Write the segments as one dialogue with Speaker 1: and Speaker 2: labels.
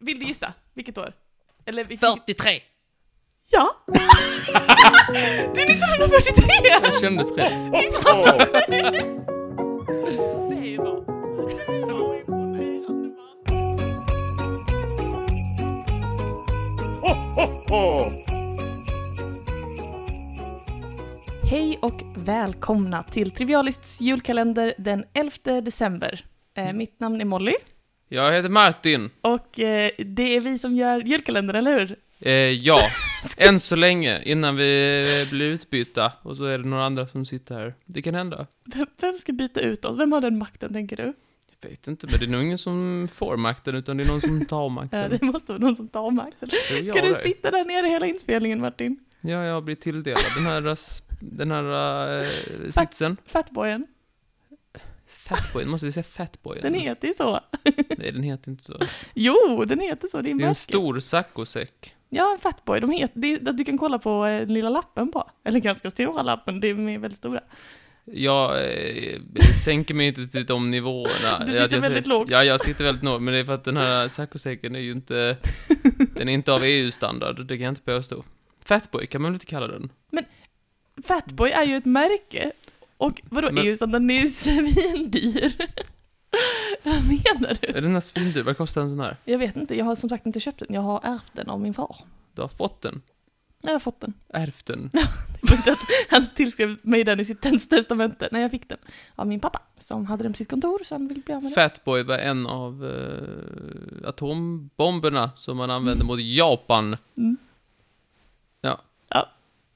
Speaker 1: Vill du gissa? Vilket år? Eller vilket...
Speaker 2: 43!
Speaker 1: Ja! det är 1943!
Speaker 2: Det kändes rätt.
Speaker 1: Det är ju bra. Hej och välkomna till Trivialists julkalender den 11 december. Eh, mitt namn är Molly
Speaker 2: Jag heter Martin.
Speaker 1: och eh, det är vi som gör julkalendern, eller hur?
Speaker 2: Eh, ja, än så länge, innan vi eh, blir utbytta. Och så är det några andra som sitter här. Det kan hända.
Speaker 1: Vem, vem ska byta ut oss? Vem har den makten, tänker du?
Speaker 2: Jag vet inte, men det är nog ingen som får makten, utan det är någon som tar
Speaker 1: Ja,
Speaker 2: makten.
Speaker 1: det måste vara någon som tar makten.
Speaker 2: Det är jag
Speaker 1: Ska du
Speaker 2: där.
Speaker 1: sitta där nere hela inspelningen, Martin?
Speaker 2: Ja, jag blir tilldelad den här, ras- den här eh, sitsen.
Speaker 1: Fatboyen?
Speaker 2: Fatboyen, måste vi säga fatboyen?
Speaker 1: Den heter ju så.
Speaker 2: Nej, den heter inte så.
Speaker 1: Jo, den heter så. Det är en,
Speaker 2: Det är en
Speaker 1: bucket.
Speaker 2: stor saccosäck.
Speaker 1: Ja, en fatboy. De heter, det, är- du kan kolla på eh, den lilla lappen på. Eller ganska stora lappen, de är väldigt stora.
Speaker 2: Jag eh, sänker mig inte till de nivåerna.
Speaker 1: Du
Speaker 2: Att
Speaker 1: sitter
Speaker 2: jag,
Speaker 1: väldigt lågt.
Speaker 2: Ja, jag sitter väldigt lågt, men det är för att den här saccosäcken är ju inte... Den är inte av EU-standard, det kan jag inte påstå. Fatboy kan man väl inte kalla den?
Speaker 1: Fatboy är ju ett märke. Och vadå,
Speaker 2: Men-
Speaker 1: EU standarden är ju svindyr. Vad menar du?
Speaker 2: Är den här svindyr? Vad kostar en sån här?
Speaker 1: Jag vet inte, jag har som sagt inte köpt den. Jag har ärvt den av min far.
Speaker 2: Du har fått den.
Speaker 1: Jag har fått den.
Speaker 2: Ärvt den.
Speaker 1: Det var inte att han tillskrev mig den i sitt testamente. Nej, jag fick den av min pappa som hade den på sitt kontor så han ville bli av med den.
Speaker 2: Fatboy var en av eh, atombomberna som man använde mot Japan.
Speaker 1: Mm.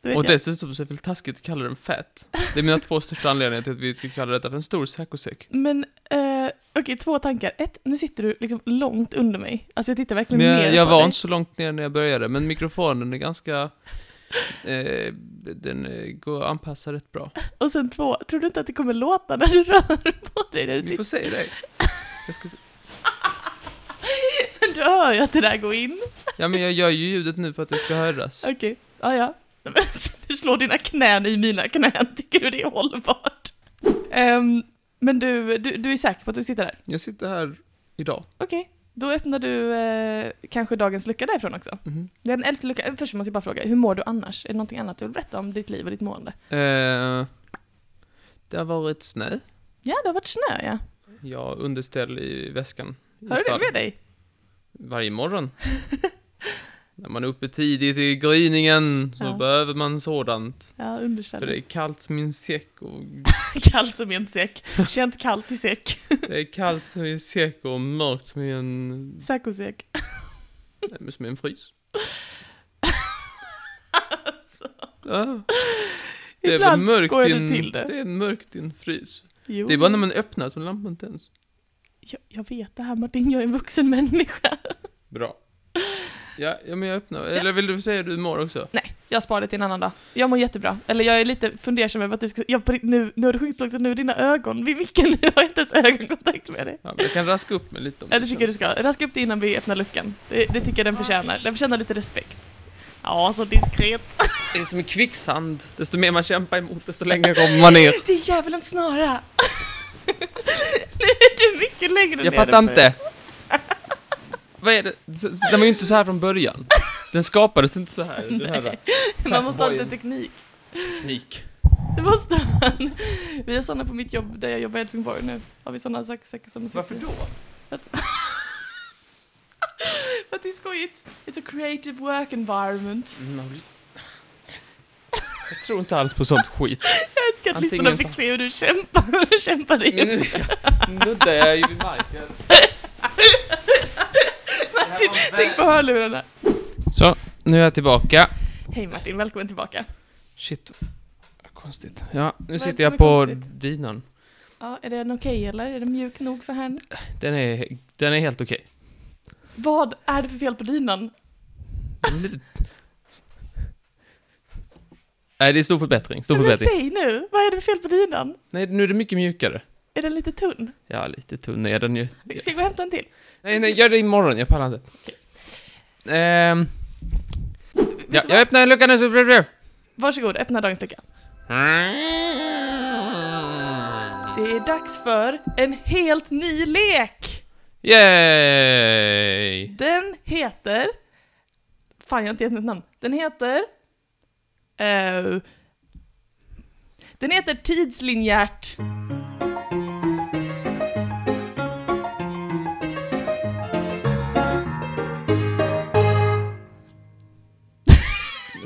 Speaker 1: Det vet
Speaker 2: Och
Speaker 1: jag.
Speaker 2: dessutom så är det väl taskigt att kalla den fett. Det är mina två största anledningar till att vi ska kalla detta för en stor saccosäck.
Speaker 1: Men eh, okej, två tankar. Ett, nu sitter du liksom långt under mig. Alltså jag tittar verkligen
Speaker 2: Men
Speaker 1: ner
Speaker 2: jag, jag
Speaker 1: på
Speaker 2: var
Speaker 1: dig.
Speaker 2: inte så långt ner när jag började, men mikrofonen är ganska... Eh, den eh, går att anpassa rätt bra.
Speaker 1: Och sen två, tror du inte att det kommer låta när du rör på dig? När du,
Speaker 2: Vi
Speaker 1: sitter?
Speaker 2: får se det. Jag ska, se-
Speaker 1: Men du hör ju att det där går in.
Speaker 2: ja, men jag gör ju ljudet nu för att det ska höras.
Speaker 1: Okej, ja ja. Men Du slår dina knän i mina knän, tycker du det är hållbart? Ehm, men du, du, du är säker på att du sitter där?
Speaker 2: Jag sitter här idag.
Speaker 1: Okej, då öppnar du eh, kanske dagens lucka därifrån också.
Speaker 2: Mhm.
Speaker 1: Det är den elfte luckan. eh, Först måste jag bara fråga, hur mår du annars? Är det någonting annat du vill berätta om ditt liv och ditt mående?
Speaker 2: Eh, det har varit snö.
Speaker 1: Ja, det har varit snö ja.
Speaker 2: Jag har underställ i väskan.
Speaker 1: Har du det
Speaker 2: Ifall-
Speaker 1: med dig?
Speaker 2: Varje morgon. När man är uppe tidigt i gryningen så
Speaker 1: Ja.
Speaker 2: behöver man sådant.
Speaker 1: Ja,
Speaker 2: För det
Speaker 1: underställ.
Speaker 2: är kallt som i en säck och
Speaker 1: Kallt som i en säck. Känt kallt i säck.
Speaker 2: det är kallt som i en säck och mörkt som i en,
Speaker 1: Saccosäck.
Speaker 2: som i en frys.
Speaker 1: Alltså.
Speaker 2: Ja. Det är väl
Speaker 1: Ibland
Speaker 2: mörkt
Speaker 1: skojar
Speaker 2: i
Speaker 1: du
Speaker 2: en,
Speaker 1: till det.
Speaker 2: det är mörkt i en frys.
Speaker 1: Jo.
Speaker 2: Det är bara när man öppnar som lampan tänds.
Speaker 1: jag, jag vet det här Martin, jag är en vuxen människa.
Speaker 2: Bra. Ja, ja men jag öppnar. Eller vill du säga hur du mår också?
Speaker 1: Nej, jag sparar det till en annan dag. Jag mår jättebra. Eller jag är lite fundersam över att du ska... Jag, på ditt- nu, nu har du sjunkit så lågt så nu är dina ögon vid micken. Nu har jag inte ens ögonkontakt med dig.
Speaker 2: Ja, men jag kan raska upp mig lite om
Speaker 1: Ja, det tycker jag du
Speaker 2: känns. Ah.
Speaker 1: ska. Raska upp det innan vi öppnar luckan. Det, det tycker jag den förtjänar. Den förtjänar lite respekt. Ja, så diskret.
Speaker 2: Det är som en kvicksand. Desto mer man kämpar emot, desto längre kommer man ner.
Speaker 1: Det är djävulens snara! nu är du mycket längre
Speaker 2: Jag
Speaker 1: ner
Speaker 2: fattar
Speaker 1: än mig.
Speaker 2: inte. Vad är det? Så- så- Den var ju inte så här från början. Den skapades inte så här. Den här
Speaker 1: Man måste ha lite
Speaker 2: Fatboyen.
Speaker 1: teknik.
Speaker 2: teknik.
Speaker 1: Det måste man. Vi har sådana på mitt jobb, där jag jobbar i Helsingborg nu. Har vi sådana saker som
Speaker 2: Varför då?
Speaker 1: För att det är skojigt. It's a creative work environment.
Speaker 2: Mm, Man blir- Jag tror inte alls på sånt skit.
Speaker 1: Jag älskar att
Speaker 2: Antingen
Speaker 1: lyssnarna fick
Speaker 2: så-
Speaker 1: se hur du kämpar, kämpade
Speaker 2: Men
Speaker 1: in.
Speaker 2: nu nuddar jag ju vid marken.
Speaker 1: Martin, tänk på hörlurarna.
Speaker 2: Så, nu är jag tillbaka.
Speaker 1: Hej Martin, välkommen tillbaka.
Speaker 2: Shit. vad Konstigt. Ja, nu
Speaker 1: det
Speaker 2: sitter
Speaker 1: som
Speaker 2: jag
Speaker 1: är
Speaker 2: på
Speaker 1: konstigt?
Speaker 2: dynan.
Speaker 1: Ja, är den okej eller? Är den mjuk nog för henne?
Speaker 2: Den är, den är helt okej.
Speaker 1: Vad är det för fel på dynan?
Speaker 2: Den är lite- Nej, det är stor förbättring. Stor
Speaker 1: Nej, Men
Speaker 2: förbättring.
Speaker 1: säg nu, vad är det för fel på dynan?
Speaker 2: Nej, nu är det mycket mjukare.
Speaker 1: Är den lite tunn?
Speaker 2: Ja, lite tunn är den ju.
Speaker 1: Ska jag gå och hämta en till?
Speaker 2: Nej, nej, gör det imorgon. Jag pallar inte. Ehm... Ja,
Speaker 1: du
Speaker 2: jag öppnar luckan nu så...
Speaker 1: Varsågod, öppna dagens lucka. Det är dags för en helt ny lek!
Speaker 2: Yay!
Speaker 1: Den heter... Fan, jag har inte gett den ett namn. Den heter... eh, den heter Tidslinjärt.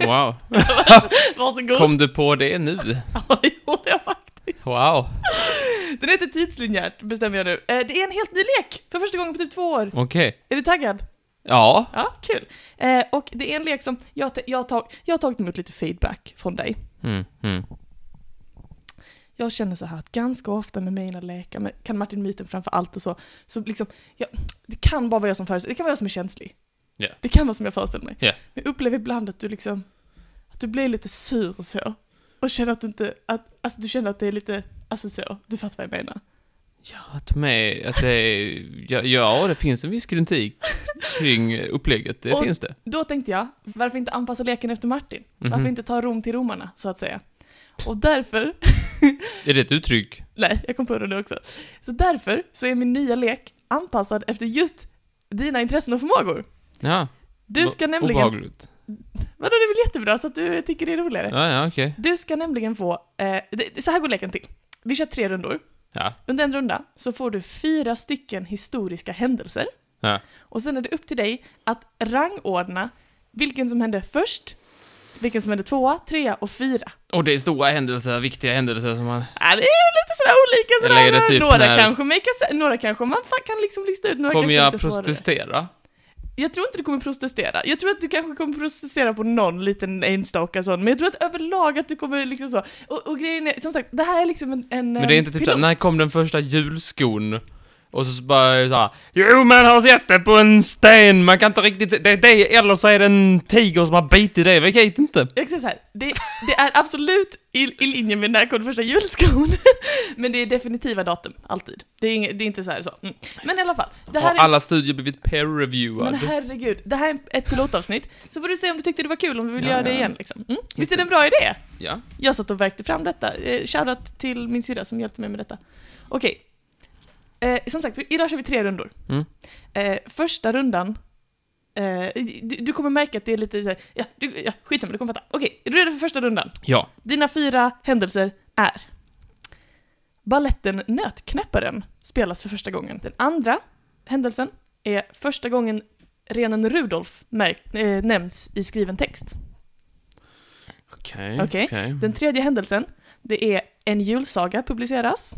Speaker 2: Wow.
Speaker 1: Varsågod.
Speaker 2: Kom du på det nu?
Speaker 1: Ja, det gjorde jag faktiskt.
Speaker 2: Wow.
Speaker 1: Den heter Tidslinjärt, bestämmer jag nu. Eh, det är en helt ny lek, för första gången på typ två år.
Speaker 2: Okej.
Speaker 1: Är du taggad?
Speaker 2: Ja.
Speaker 1: Ja, kul. Eh, och det är en lek som, jag, ta- jag, har tag- jag har tagit emot lite feedback från dig.
Speaker 2: Mm, mm.
Speaker 1: Jag känner så här att ganska ofta med mina lekar, med Kan Martin Myten framför allt och så, så liksom, ja, det kan bara vara jag som föreställer det kan vara jag som är känslig.
Speaker 2: Ja.
Speaker 1: Det kan vara som jag föreställer mig.
Speaker 2: Ja.
Speaker 1: Men jag upplever ibland att du liksom, att du blir lite sur och så. Och känner att du inte, att, alltså du känner att det är lite, alltså så, du fattar vad jag menar.
Speaker 2: Ja, att med, att det är, ja, ja, det finns en viss kritik kring upplägget, det
Speaker 1: Och-
Speaker 2: finns det.
Speaker 1: Då tänkte jag, varför inte anpassa leken efter Martin?
Speaker 2: Mhm.
Speaker 1: Varför inte ta Rom till romarna, så att säga? Och därför
Speaker 2: Är det ett uttryck?
Speaker 1: Nej, jag kom på det nu också. Så därför så är min nya lek anpassad efter just dina intressen och förmågor.
Speaker 2: Ja.
Speaker 1: Du ska
Speaker 2: o-
Speaker 1: nämligen...
Speaker 2: Obehagligt.
Speaker 1: Vadå, det är väl jättebra så att du tycker det är roligare?
Speaker 2: Ja, ja, okej.
Speaker 1: Du ska nämligen få... Eh, det, så här går leken till. Vi kör tre rundor.
Speaker 2: Ja.
Speaker 1: Under en runda så får du fyra stycken historiska händelser.
Speaker 2: Ja.
Speaker 1: Och sen är det upp till dig att rangordna vilken som hände först, vilken som hände tvåa, trea och fyra.
Speaker 2: Och det är stora händelser, viktiga händelser som man...
Speaker 1: Ja, det är lite sådär olika sådär.
Speaker 2: Eller är det typ
Speaker 1: några,
Speaker 2: när-
Speaker 1: kanske make a se- några kanske man fan kan liksom lista ut, några
Speaker 2: Kommer
Speaker 1: kanske
Speaker 2: jag
Speaker 1: lite svårare.
Speaker 2: protestera?
Speaker 1: Jag tror inte du kommer protestera. Jag tror att du kanske kommer protestera på någon liten enstaka sån, men jag tror att överlag att du kommer liksom så. Och, och grejen är, som sagt, det här är liksom en... en
Speaker 2: Men det är inte typ såhär, när kom den första julskon? Och så bara såhär, Jo man har sett det på en sten, man kan inte riktigt se, det är det, eller så är det en tiger som har bitit det, vi vet inte.
Speaker 1: Jag kan säga så här, det, det är absolut i, i linje med när kom den första julskon, men det är definitiva datum, alltid. Det är, inget, det är inte så här så. Mm. Men i alla fall, det här
Speaker 2: Har
Speaker 1: är...
Speaker 2: alla studier blivit
Speaker 1: Men
Speaker 2: peer-reviewad?
Speaker 1: herregud, det här är ett pilotavsnitt, så får du se om du tyckte det var kul, om du vill
Speaker 2: Ja,
Speaker 1: göra det
Speaker 2: ja.
Speaker 1: igen liksom. Mm. Visst är det en bra idé?
Speaker 2: Ja.
Speaker 1: Jag satt och värkte fram detta. Eh, Shoutout till min syrra som hjälpte mig med detta. Okej. Eh, som sagt, idag kör vi tre rundor.
Speaker 2: Mm.
Speaker 1: Eh, första rundan... Eh, du, du kommer märka att det är lite så här, ja, du, ja, skitsamma, du kommer fatta. Okej, är du redo för första rundan?
Speaker 2: Ja.
Speaker 1: Dina fyra händelser är... Balletten Nötknäpparen spelas för första gången. Den andra händelsen är första gången renen Rudolf märk- eh, nämns i skriven text.
Speaker 2: Okej.
Speaker 1: Okej.
Speaker 2: okej.
Speaker 1: Den tredje händelsen, det är en julsaga publiceras.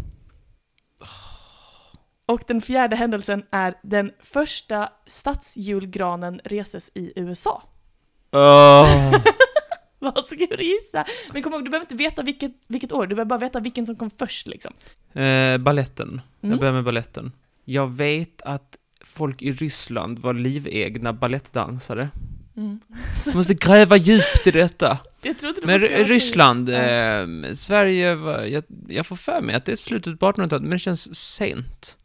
Speaker 1: Och den fjärde händelsen är den första stadsjulgranen reses i USA.
Speaker 2: Åh.
Speaker 1: Varsågod och gissa! Men kom ihåg, du behöver inte veta vilket, vilket år, du behöver bara veta vilken som kom först liksom.
Speaker 2: Eh, balletten.
Speaker 1: Mm.
Speaker 2: Jag börjar med balletten. Jag vet att folk i Ryssland var livegna ballettdansare. Man måste gräva djupt i detta.
Speaker 1: Jag tror inte du
Speaker 2: Men
Speaker 1: måste göra
Speaker 2: Ry-
Speaker 1: så.
Speaker 2: Ryssland,
Speaker 1: Ja.
Speaker 2: eh, Sverige, var- jag, jag får för mig att det är slutet på 1800-talet, men det känns sent.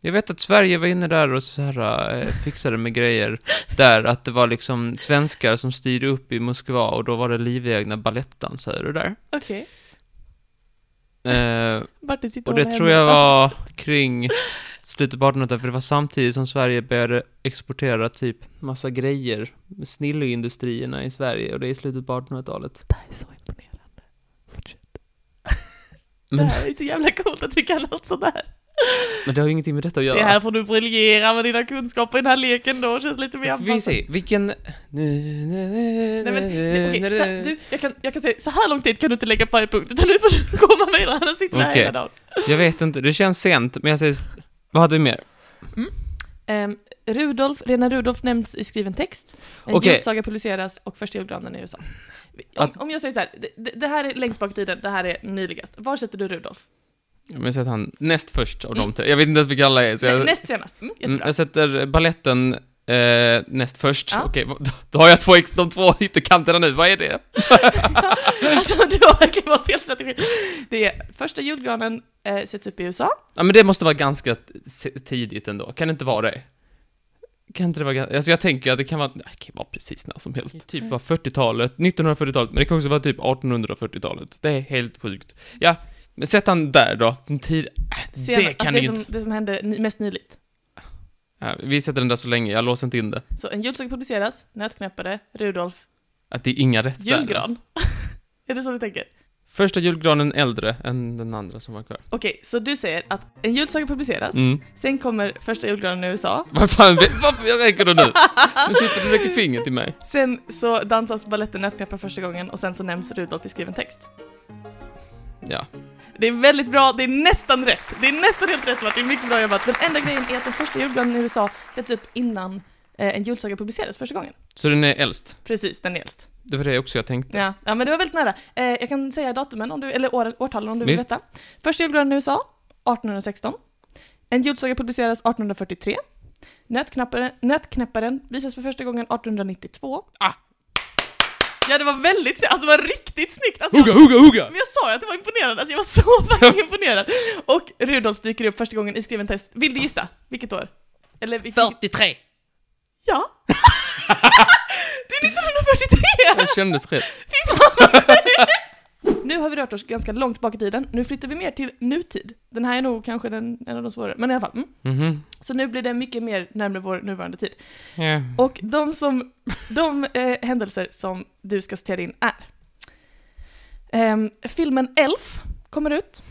Speaker 2: Jag vet att Sverige var inne där och så här, eh, fixade med grejer där, att det var liksom svenskar som styrde upp i Moskva och då var det livegna balettdansare där.
Speaker 1: Okej,
Speaker 2: Eh,
Speaker 1: Martin sitter
Speaker 2: Och det
Speaker 1: håller
Speaker 2: tror jag
Speaker 1: händerna
Speaker 2: var kring slutet på 1800-talet, för det var samtidigt som Sverige började exportera typ massa grejer, snilleindustrierna i Sverige, och det är i slutet på 1800-talet.
Speaker 1: fast. Det här är så imponerande. Fortsätt.
Speaker 2: Men,
Speaker 1: Det här är så jävla coolt att vi kan allt sånt här.
Speaker 2: men det har ju ingenting med detta att
Speaker 1: Se här
Speaker 2: göra.
Speaker 1: får du briljera med dina kunskaper i den här leken då, känns lite mer
Speaker 2: Då får vi
Speaker 1: anpassat.
Speaker 2: se, vilken...
Speaker 1: Nej men, det- okej, så här, du, jag kan, jag kan säga, så här lång tid kan du inte lägga på varje punkt, utan nu får du komma vidare, annars sitter vi här
Speaker 2: Okej.
Speaker 1: hela dagen.
Speaker 2: Jag vet inte, det känns sent, men jag säger... s- Vad hade vi mer?
Speaker 1: Ehm, Rudolf, Rena Rudolf nämns i skriven text, en
Speaker 2: Okej.
Speaker 1: julsaga publiceras och första julgranen i USA. Om,
Speaker 2: Att-
Speaker 1: om jag säger så här, det- det, det här är längst bak i tiden, det här är nyligast. Var sätter du Rudolf?
Speaker 2: Jag vill säga att han näst först av de tre. Jag vet inte ens vilka alla är, så jag...
Speaker 1: Nä- Näst senast, mm,
Speaker 2: Mm,
Speaker 1: jättebra.
Speaker 2: jag sätter balletten eh, näst först.
Speaker 1: Ja.
Speaker 2: Okej, vad- då, då har jag två, ex- de två ytterkanterna nu, vad är det? Mm.
Speaker 1: alltså du har verkligen valt fel strategi. Det är första julgranen eh, sätts upp i USA,
Speaker 2: Ja men det måste vara ganska t- se- tidigt ändå, kan det inte vara det? Kan inte det vara ganska, alltså jag tänker ju att det kan vara, nej, det kan vara precis när som helst. Typ var 40-talet, 1940-talet, men det kan också vara typ 1840-talet. Det är helt sjukt. Ja, men sätt han där då, den tid, äh,
Speaker 1: senast,
Speaker 2: det kan
Speaker 1: alltså, det,
Speaker 2: ju
Speaker 1: som,
Speaker 2: inte.
Speaker 1: det som hände ny- mest nyligt.
Speaker 2: Ja, vi sätter den där så länge, jag låser inte in det.
Speaker 1: Så en julsaga publiceras, Nötknäppare, Rudolf,
Speaker 2: Att det är inga rätt där. alltså.
Speaker 1: julgran. är det så du tänker?
Speaker 2: Första julgranen äldre än den andra som var kvar.
Speaker 1: Okej, så du säger att en julsaga publiceras,
Speaker 2: Mm.
Speaker 1: sen kommer första julgranen i USA,
Speaker 2: Vad fan, vi- varför räcker det nu?
Speaker 1: ah.
Speaker 2: Nu sitter du och räcker fingret till mig.
Speaker 1: sen så dansas baletten Nötknäppare första gången och sen så nämns Rudolf i skriven text.
Speaker 2: Ja.
Speaker 1: Det är väldigt bra, det är nästan rätt. Det är nästan helt rätt Martin, mycket bra jobbat. Den enda grejen är att den första julgranen i USA sätts upp innan eh, en julsaga publiceras första gången.
Speaker 2: Så den är äldst.
Speaker 1: Precis, den är äldst.
Speaker 2: Det var det också jag tänkte.
Speaker 1: Ja, ja men det var väldigt nära. Eh, jag kan säga datumen, om du, eller år, årtalen om du vill
Speaker 2: Visst.
Speaker 1: veta. Första julgranen i USA, 1816. En julsaga publiceras 1843. Nötknapparen, nötknäpparen visas för första gången 1892.
Speaker 2: Ah.
Speaker 1: Ja, det var väldigt, alltså det var riktigt snyggt! Alltså,
Speaker 2: Hugga, hugga, hugga!
Speaker 1: Men jag sa ju att det var imponerande, alltså jag var så verkligen imponerad! Och Rudolf dyker upp första gången i skriven test. Vill du gissa? Vilket år? Eller vilket...
Speaker 2: 43!
Speaker 1: Ja! det är 1943!
Speaker 2: Det kändes rätt.
Speaker 1: Nu har vi rört oss ganska långt bak i tiden, nu flyttar vi mer till nutid. Den här är nog kanske den, en av de svårare, men i alla fall. Mm.
Speaker 2: Mhm.
Speaker 1: Så nu blir det mycket mer närmare vår nuvarande tid.
Speaker 2: Ja.
Speaker 1: Och de, som, de eh, händelser som du ska sortera in är... Ehm, filmen Elf kommer ut.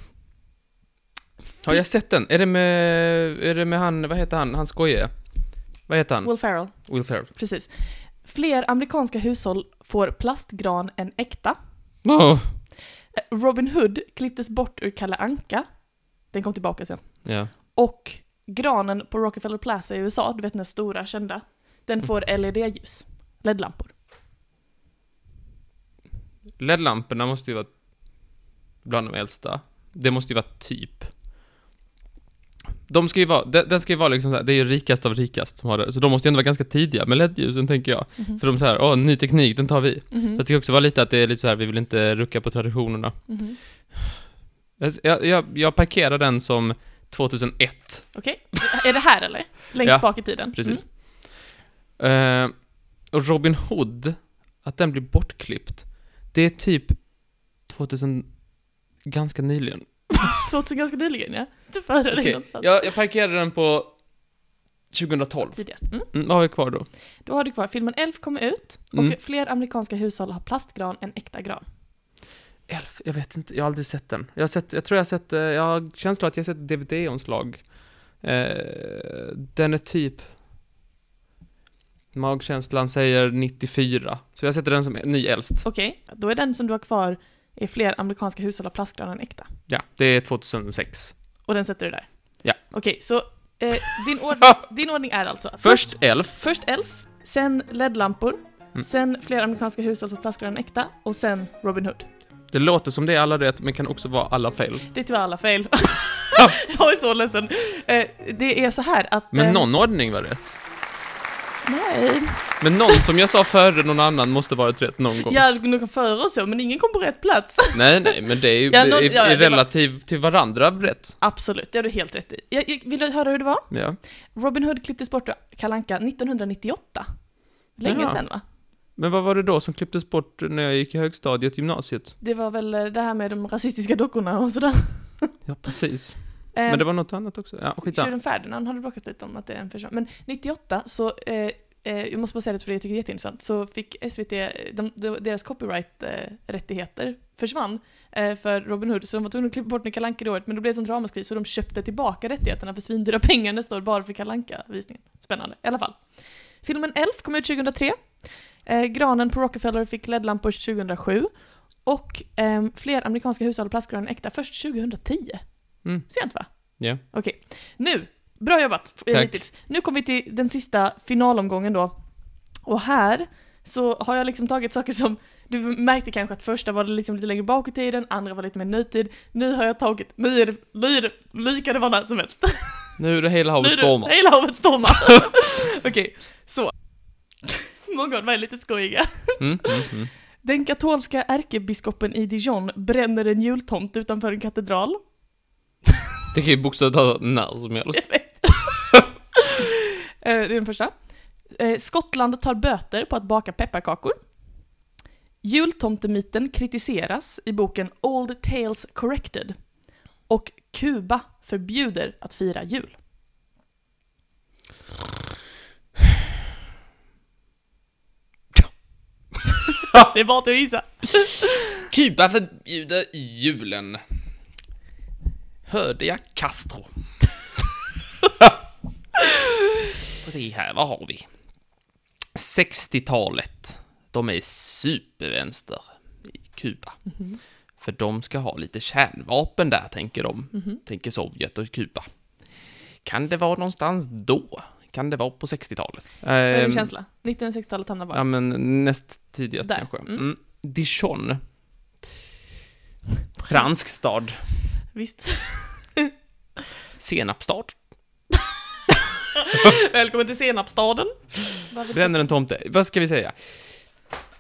Speaker 2: Har jag sett den? Är det med, är det med han, vad heter han, han skojiga? Vad heter han?
Speaker 1: Will Ferrell,
Speaker 2: Will Ferrell.
Speaker 1: precis. Fler amerikanska hushåll får plastgran än äkta.
Speaker 2: Åh.
Speaker 1: Eh, Robin Hood klipptes bort ur Kalle Anka. Den kom tillbaka sen.
Speaker 2: Ja.
Speaker 1: Och granen på Rockefeller Plaza i USA, du vet den här stora kända, den får
Speaker 2: Mm.
Speaker 1: E LED-ljus. LED-lampor.
Speaker 2: LED-lamporna måste ju vara bland de äldsta. Det måste ju vara typ. De ska ju vara, den, den ska ju vara liksom så här, det är ju rikast av rikast som har det. Så de måste ju ändå vara ganska tidiga med LED-ljusen tänker jag.
Speaker 1: Mhm.
Speaker 2: För de så här, åh, ny teknik, den tar vi.
Speaker 1: Mhm.
Speaker 2: Så det ska också vara lite att det är lite så här, vi vill inte rucka på traditionerna.
Speaker 1: Mhm.
Speaker 2: Jag, jag, jag parkerar den som 2001,
Speaker 1: Okej, är det här eller? Längst
Speaker 2: Ja,
Speaker 1: bak i tiden? Mm.
Speaker 2: precis. Eh, och Robin Hood, att den blir bortklippt, det är typ 2000, ganska nyligen.
Speaker 1: 2000 ganska nyligen ja. Du före dig
Speaker 2: Okej,
Speaker 1: någonstans.
Speaker 2: jag, jag parkerade den på 2012.
Speaker 1: Tidigast. Mm.
Speaker 2: Mm, vad har vi kvar då?
Speaker 1: Då har du kvar filmen Elf kommer ut och
Speaker 2: Mm.
Speaker 1: fler amerikanska hushåll har plastgran än äkta gran.
Speaker 2: Elf, jag vet inte, jag har aldrig sett den. Jag, har sett, jag tror jag har sett, eh, jag har känslan att jag har sett DVD-omslag. Eh, den är typ... Magkänslan säger 94, så jag sätter den som ny äldst.
Speaker 1: Okej, då är den som du har kvar är fler amerikanska hushåll har plastgran än äkta.
Speaker 2: Ja, det är 2006.
Speaker 1: Och den sätter du där?
Speaker 2: Ja.
Speaker 1: Okej, så eh, din, ordning, din ordning är alltså? att
Speaker 2: Först Elf.
Speaker 1: Först Elf, sen LED-lampor,
Speaker 2: Mm.
Speaker 1: sen fler amerikanska hushåll får plastgran äkta och sen Robin Hood.
Speaker 2: Det låter som det är alla rätt, men kan också vara alla fel.
Speaker 1: Det är tyvärr alla fel. jag är så ledsen. Eh, det är så här att...
Speaker 2: Men
Speaker 1: eh,
Speaker 2: någon ordning var rätt.
Speaker 1: Nej.
Speaker 2: Men någon som jag sa före någon annan måste varit rätt någon gång.
Speaker 1: Ja, några före och så, men ingen kom på rätt plats.
Speaker 2: Nej, nej, men det är ju
Speaker 1: Ja, någon-
Speaker 2: i,
Speaker 1: ja,
Speaker 2: i
Speaker 1: det var-
Speaker 2: relativ till varandra rätt.
Speaker 1: Absolut, det har du helt rätt i. Jag, jag, vill du höra hur det var?
Speaker 2: Ja.
Speaker 1: Robin Hood klipptes bort ur Kalle Anka 1998. Länge
Speaker 2: Ja.
Speaker 1: sedan va?
Speaker 2: Men vad var det då som klipptes bort när jag gick i högstadiet, gymnasiet?
Speaker 1: Det var väl eh, det här med de rasistiska dockorna och sådär.
Speaker 2: Ja, precis.
Speaker 1: Eh,
Speaker 2: Men det var något annat också. Ja, skitsamma.
Speaker 1: Tjuren Ferdinand har du bråkat lite om att det är en person. Men 98 så, eh, eh, jag måste bara säga det för jag tycker det är jätteintressant, så fick SVT, eh, de, de, deras copyright-rättigheter försvann eh, för Robin Hood, så de var tvungna att klippa bort Kalle Anka det året, men då blev det sånt ramaskri så de köpte tillbaka rättigheterna för svindyra pengar nästa år bara för Kalle Anka-visningen. Spännande, i alla fall. Filmen Elf kom ut 2003. Eh, granen på Rockefeller fick LED-lampor 2007. Och ehm, fler amerikanska hushåll och plastgran än äkta först 2010.
Speaker 2: Mm.
Speaker 1: Sent va?
Speaker 2: Ja.
Speaker 1: Okej. Nu, bra jobbat eh,
Speaker 2: Tack.
Speaker 1: hittills. Nu kommer vi till den sista finalomgången då. Och här så har jag liksom tagit saker som, du märkte kanske att första var det liksom lite längre bak i tiden, andra var lite mer nutid. Nu har jag tagit, nu är det, nu är det lika det var när som helst.
Speaker 2: Nu är det hela havet
Speaker 1: Nu är det-
Speaker 2: stormar.
Speaker 1: Hela havet stormar. Okej, så. Många av dem är lite skojiga.
Speaker 2: Mm, mm, mm.
Speaker 1: Den katolska ärkebiskopen i Dijon bränner en jultomt utanför en katedral.
Speaker 2: Det kan ju bokstavligt talat när som helst.
Speaker 1: Jag vet. Eh, det är den första. Eh, Skottland tar böter på att baka pepparkakor. Jultomtemyten kritiseras i boken Old Tales Corrected. Och Kuba förbjuder att fira jul. Det är bara att gissa.
Speaker 2: Kuba förbjuder julen. Hörde jag Castro? Får se här, vad har vi? 60-talet. De är supervänster i Kuba. För de ska ha lite kärnvapen där, tänker de. Tänker Sovjet och Kuba. Kan det vara någonstans då? Kan det vara på 60-talet?
Speaker 3: Vad är
Speaker 1: Vad är din känsla? 1960-talet hamnar
Speaker 3: Ja,
Speaker 1: bara.
Speaker 3: men näst tidigast
Speaker 1: Där.
Speaker 3: kanske.
Speaker 1: Mm.
Speaker 3: Mm.
Speaker 2: Dijon. Fransk stad.
Speaker 1: Visst.
Speaker 2: Senapsstad.
Speaker 1: Välkommen till Senapsstaden. Varför-
Speaker 3: Den-
Speaker 2: Bränner en tomte. Vad ska vi säga?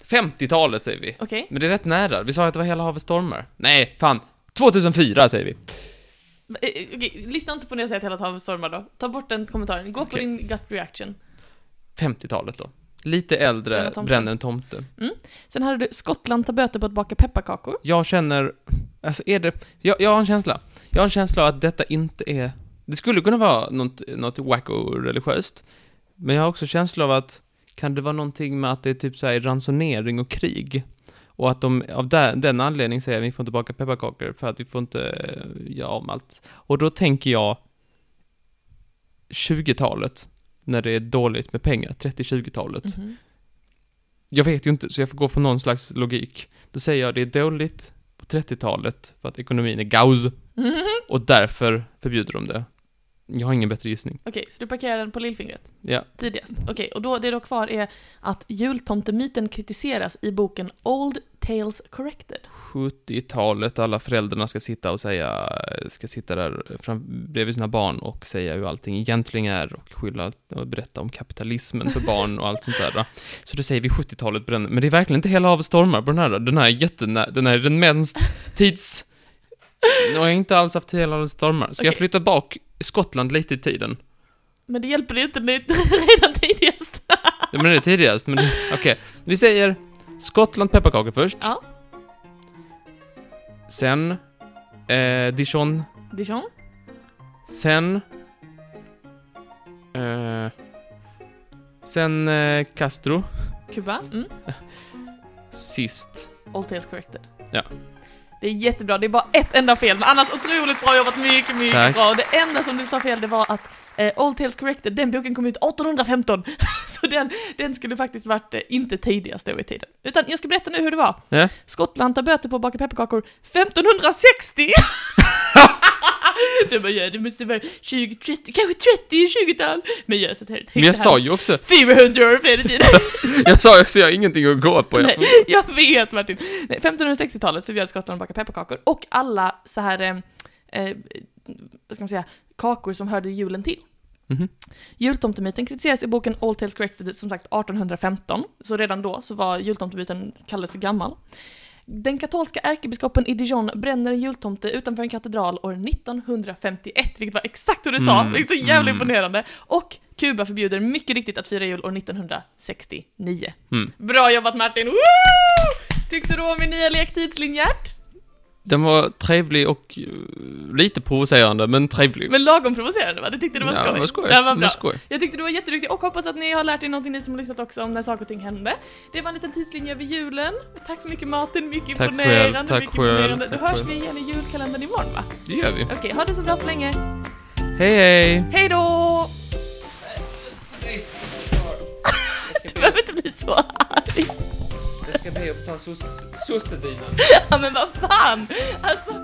Speaker 2: 50-talet säger vi.
Speaker 1: Okej.
Speaker 2: Men det är rätt nära. Vi sa att det var hela havet stormar. Nej, fan. 2004 säger vi.
Speaker 1: Eh, eh, Okej, lyssna inte på när jag säger att hela havet stormar då. Ta bort den kommentaren. Gå på
Speaker 2: Okej.
Speaker 1: din gut reaction.
Speaker 2: 50-talet då. Lite äldre
Speaker 1: Bränner tomte.
Speaker 2: bränner en tomte.
Speaker 1: Sen hade du Skottland tar böter på att baka pepparkakor.
Speaker 2: Jag känner... Alltså är det... Jag, jag har en känsla. Jag har en känsla av att detta inte är... Det skulle kunna vara något, något wacko-religiöst. Men jag har också känsla av att... Kan det vara någonting med att det är typ så här ransonering och krig? Och att de av där, den anledningen säger vi får inte baka pepparkakor för att vi får inte eh, göra om allt. Och då tänker jag 20-talet, när det är dåligt med pengar, 30-20-talet. Jag vet ju inte, så jag får gå på någon slags logik. Då säger jag det är dåligt på 30-talet för att ekonomin är gaus
Speaker 1: Mhm.
Speaker 2: och därför förbjuder de det. Jag har ingen bättre gissning.
Speaker 1: Okej, så du parkerar den på lillfingret?
Speaker 2: Ja.
Speaker 1: Tidigast. Okej, och då, det då kvar är att jultomtemyten kritiseras i boken Old Tales Corrected.
Speaker 2: 70-talet, alla föräldrarna ska sitta och säga, ska sitta där fram, bredvid sina barn och säga hur allting egentligen är och skylla och berätta om kapitalismen för barn och allt sånt där. Så då säger vi 70-talet bränner, men det är verkligen inte hela havet stormar på den här. Den här är jättenä, den här är den mest tids... Och jag har inte alls haft hela havet stormar. Så jag
Speaker 1: Okej.
Speaker 2: flyttar bak Skottland lite i tiden.
Speaker 1: Men det hjälper inte nu, redan tidigast.
Speaker 2: Ja, men det är tidigast, men okej. Vi säger Skottland pepparkakor först.
Speaker 1: Ja.
Speaker 2: Sen eh, Dijon.
Speaker 1: Dijon?
Speaker 2: Sen... Eh, sen eh, Castro.
Speaker 1: Kuba? Mm.
Speaker 2: Sist.
Speaker 1: All Tales Corrected.
Speaker 2: Ja.
Speaker 1: Det är jättebra, det är bara ett enda fel, men annars otroligt bra jobbat, mycket, mycket
Speaker 2: Tack.
Speaker 1: bra. Och det enda som du sa fel, det var att eh, All Tales Corrected, den boken kom ut 1815. Så den, den skulle faktiskt varit eh, inte tidigast då i tiden. Utan jag ska berätta nu hur det var.
Speaker 2: Ja.
Speaker 1: Skottland tar böter på att baka pepparkakor 1560! du bara, ja, det måste vara 20, 30, kanske 30, 20-tal. Men jag satt här och
Speaker 2: Men jag sa ju också,
Speaker 1: 400 år fel i tiden.
Speaker 2: jag sa ju också, jag har ingenting att gå på. Jag får,
Speaker 1: Nej, jag vet Martin. Nej, 1560-talet förbjöd Skottland att baka pepparkakor och alla så här, eh, eh, vad ska man säga, kakor som hörde julen till.
Speaker 2: Mhm.
Speaker 1: Jultomtemyten kritiseras i boken All Tales Corrected som sagt 1815, så redan då så var jultomtemyten kallades för gammal. Den katolska ärkebiskopen i Dijon bränner en jultomte utanför en katedral år 1951, vilket var exakt hur du sa,
Speaker 2: Mm,
Speaker 1: vilket är så jävla
Speaker 2: mm.
Speaker 1: imponerande. Och Kuba förbjuder mycket riktigt att fira jul år 1969.
Speaker 2: mm.
Speaker 1: Bra jobbat Martin! Woo! Tyckte du om min nya lek Tidslinjärt?
Speaker 2: Den var trevlig och eh, lite provocerande, men trevlig.
Speaker 1: Men lagom provocerande va? Du tyckte det var
Speaker 2: ja,
Speaker 1: skoj?
Speaker 2: det var skoj.
Speaker 1: Det var
Speaker 2: Det
Speaker 1: bra.
Speaker 2: skoj.
Speaker 1: Jag tyckte du var jätteduktig och hoppas att ni har lärt er någonting ni som har lyssnat också om när saker och ting hände. Det var en liten tidslinje över julen. Tack så mycket Martin, mycket
Speaker 2: Tack
Speaker 1: imponerande.
Speaker 2: själv, tack
Speaker 1: mycket
Speaker 2: själv,
Speaker 1: imponerande. Då
Speaker 2: tack
Speaker 1: hörs
Speaker 2: själv.
Speaker 1: vi igen i julkalendern imorgon va?
Speaker 2: Det gör vi.
Speaker 1: Okej, ha det så bra så länge.
Speaker 2: Hej, hej!
Speaker 1: Hej då! Du behöver inte bli så arg.
Speaker 3: Jag ska be att få ta soss- sossedinan.
Speaker 1: Ja men vad fan! Alltså...